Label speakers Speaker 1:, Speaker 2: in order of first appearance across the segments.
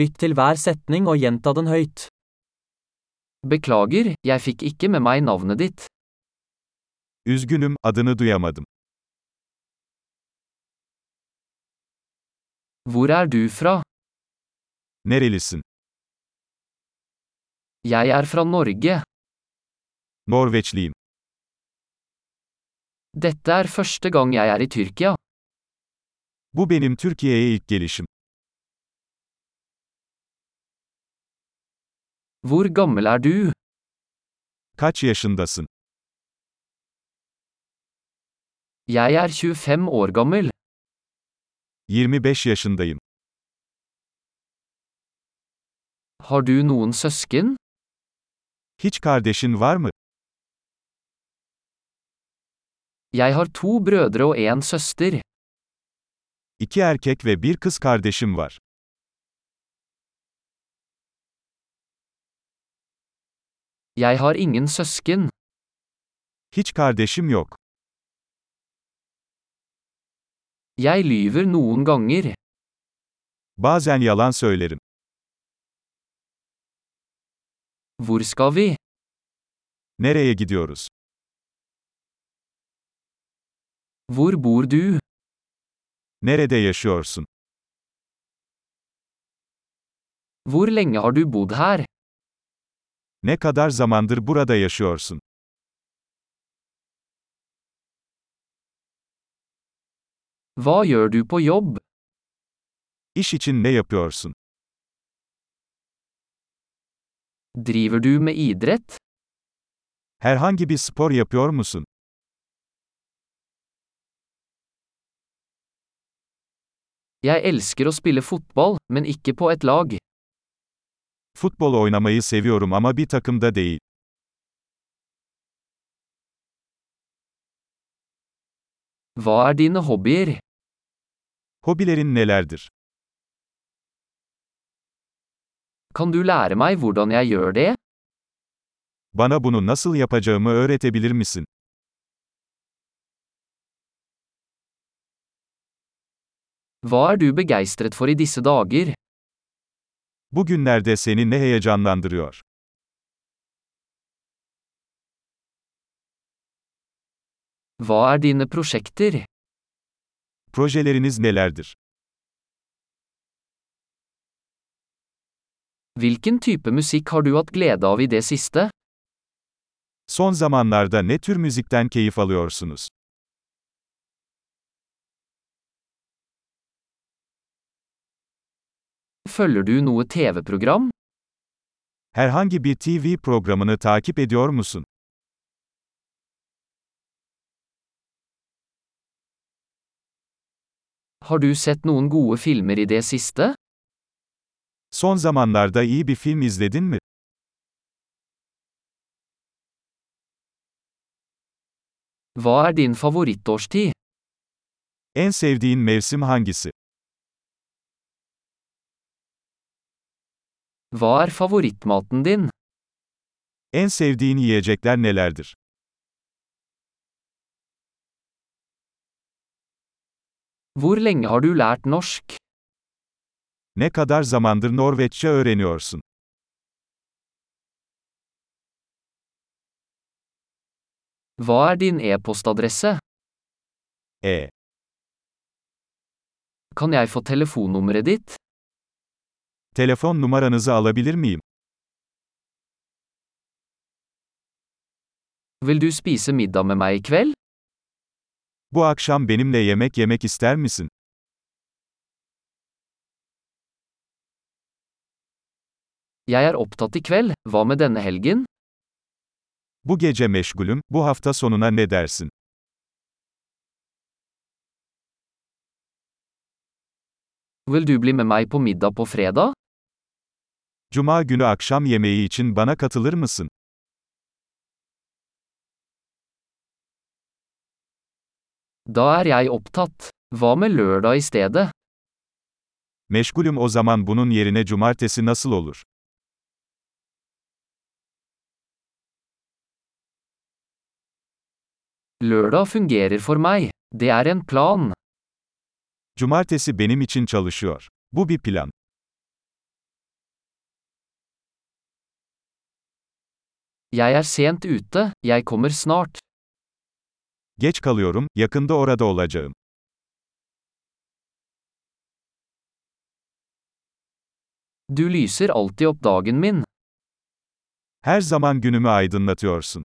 Speaker 1: Lytt til hver setning og gjenta den høyt.
Speaker 2: Beklager, jeg fikk ikke med meg navnet ditt.
Speaker 3: Üzgünüm, adını duyamadım.
Speaker 2: Hvor er du fra?
Speaker 3: Nerelisin?
Speaker 2: Jeg er fra Norge.
Speaker 3: Norveçliyim.
Speaker 2: Dette er første gang jeg er i Tyrkia.
Speaker 3: Bu benim Türkiye'ye ilk gelişim.
Speaker 2: Hvor gammel er du?
Speaker 3: Kaç yaşındasın?
Speaker 2: Jeg er 25 år gammel.
Speaker 3: 25 yaşındayım.
Speaker 2: Har du noen søsken?
Speaker 3: Hiç kardeşin var mı?
Speaker 2: Jeg har to brødre og en søster.
Speaker 3: İki erkek ve bir kız kardeşim var.
Speaker 2: Jeg har ingen søsken.
Speaker 3: Hiç kardeşim yok.
Speaker 2: Jeg lyver noen ganger.
Speaker 3: Bazen yalan söylerim.
Speaker 2: Hvor skal vi?
Speaker 3: Nereye gidiyoruz?
Speaker 2: Hvor bor du?
Speaker 3: Nerede yaşıyorsun?
Speaker 2: Hvor lenge har du bodd her?
Speaker 3: Ne kadar zamandır burada yaşıyorsun?
Speaker 2: Hva gjør du på jobb?
Speaker 3: İş için ne yapıyorsun?
Speaker 2: Driver du med idrett?
Speaker 3: Herhangi bir spor yapıyor musun?
Speaker 2: Jeg elsker å spille fotball, men ikke på et lag.
Speaker 3: Futbol oynamayı seviyorum ama bir takımda değil.
Speaker 2: Hva er dine hobbyer?
Speaker 3: Hobilerin nelerdir?
Speaker 2: Kan du lære meg hvordan jeg gjør det?
Speaker 3: Bana bunu nasıl yapacağımı öğretebilir misin?
Speaker 2: Hva er du begeistret for i disse dager?
Speaker 3: Bugünlerde seni ne heyecanlandırıyor?
Speaker 2: Hva er dine prosjekter?
Speaker 3: Projeleriniz nelerdir?
Speaker 2: Hvilken type musikk har du hatt glede av i det siste?
Speaker 3: Son zamanlarda ne tür müzikten keyif alıyorsunuz?
Speaker 2: Følger du noe TV-program?
Speaker 3: Herhangi bir TV programını takip ediyor musun?
Speaker 2: Har du sett noen gode filmer i det siste?
Speaker 3: Son zamanlarda iyi bir film izledin mi?
Speaker 2: Hva er din favorittårstid?
Speaker 3: En sevdiğin mevsim hangisi?
Speaker 2: Hva er favorittmaten din?
Speaker 3: En sevdiğin yiyecekler nelerdir?
Speaker 2: Hvor lenge har du lært norsk?
Speaker 3: Ne kadar zamandır Norveççe öğreniyorsun?
Speaker 2: Hva er din e-postadresse?
Speaker 3: E.
Speaker 2: Kan jeg få telefonnummeret ditt?
Speaker 3: Telefon numaranızı alabilir miyim?
Speaker 2: Vil du spise middag med meg i kveld?
Speaker 3: Bu akşam benimle yemek yemek ister misin?
Speaker 2: Jeg er opptatt i kveld, hva med denne helgen?
Speaker 3: Bu gece meşgulüm, bu hafta sonuna ne dersin?
Speaker 2: Vil du bli med meg på middag på fredag?
Speaker 3: Cuma günü akşam yemeği için bana katılır mısın?
Speaker 2: Da er jeg opptatt. Hva med lørdag i stedet?
Speaker 3: Meşgulüm o zaman bunun yerine cumartesi nasıl olur?
Speaker 2: Lørdag fungerer for meg. Det er en plan.
Speaker 3: Cumartesi benim için çalışıyor. Bu bir plan.
Speaker 2: Jeg er sent ute, jeg kommer snart.
Speaker 3: Geç kalıyorum, yakında orada olacağım.
Speaker 2: Du lyser alltid opp dagen min.
Speaker 3: Her zaman günümü aydınlatıyorsun.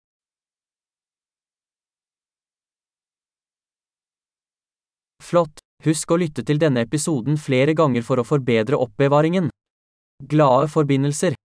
Speaker 1: Flott! Husk å lytte til denne episoden flere ganger for å forbedre oppbevaringen. Glade forbindelser!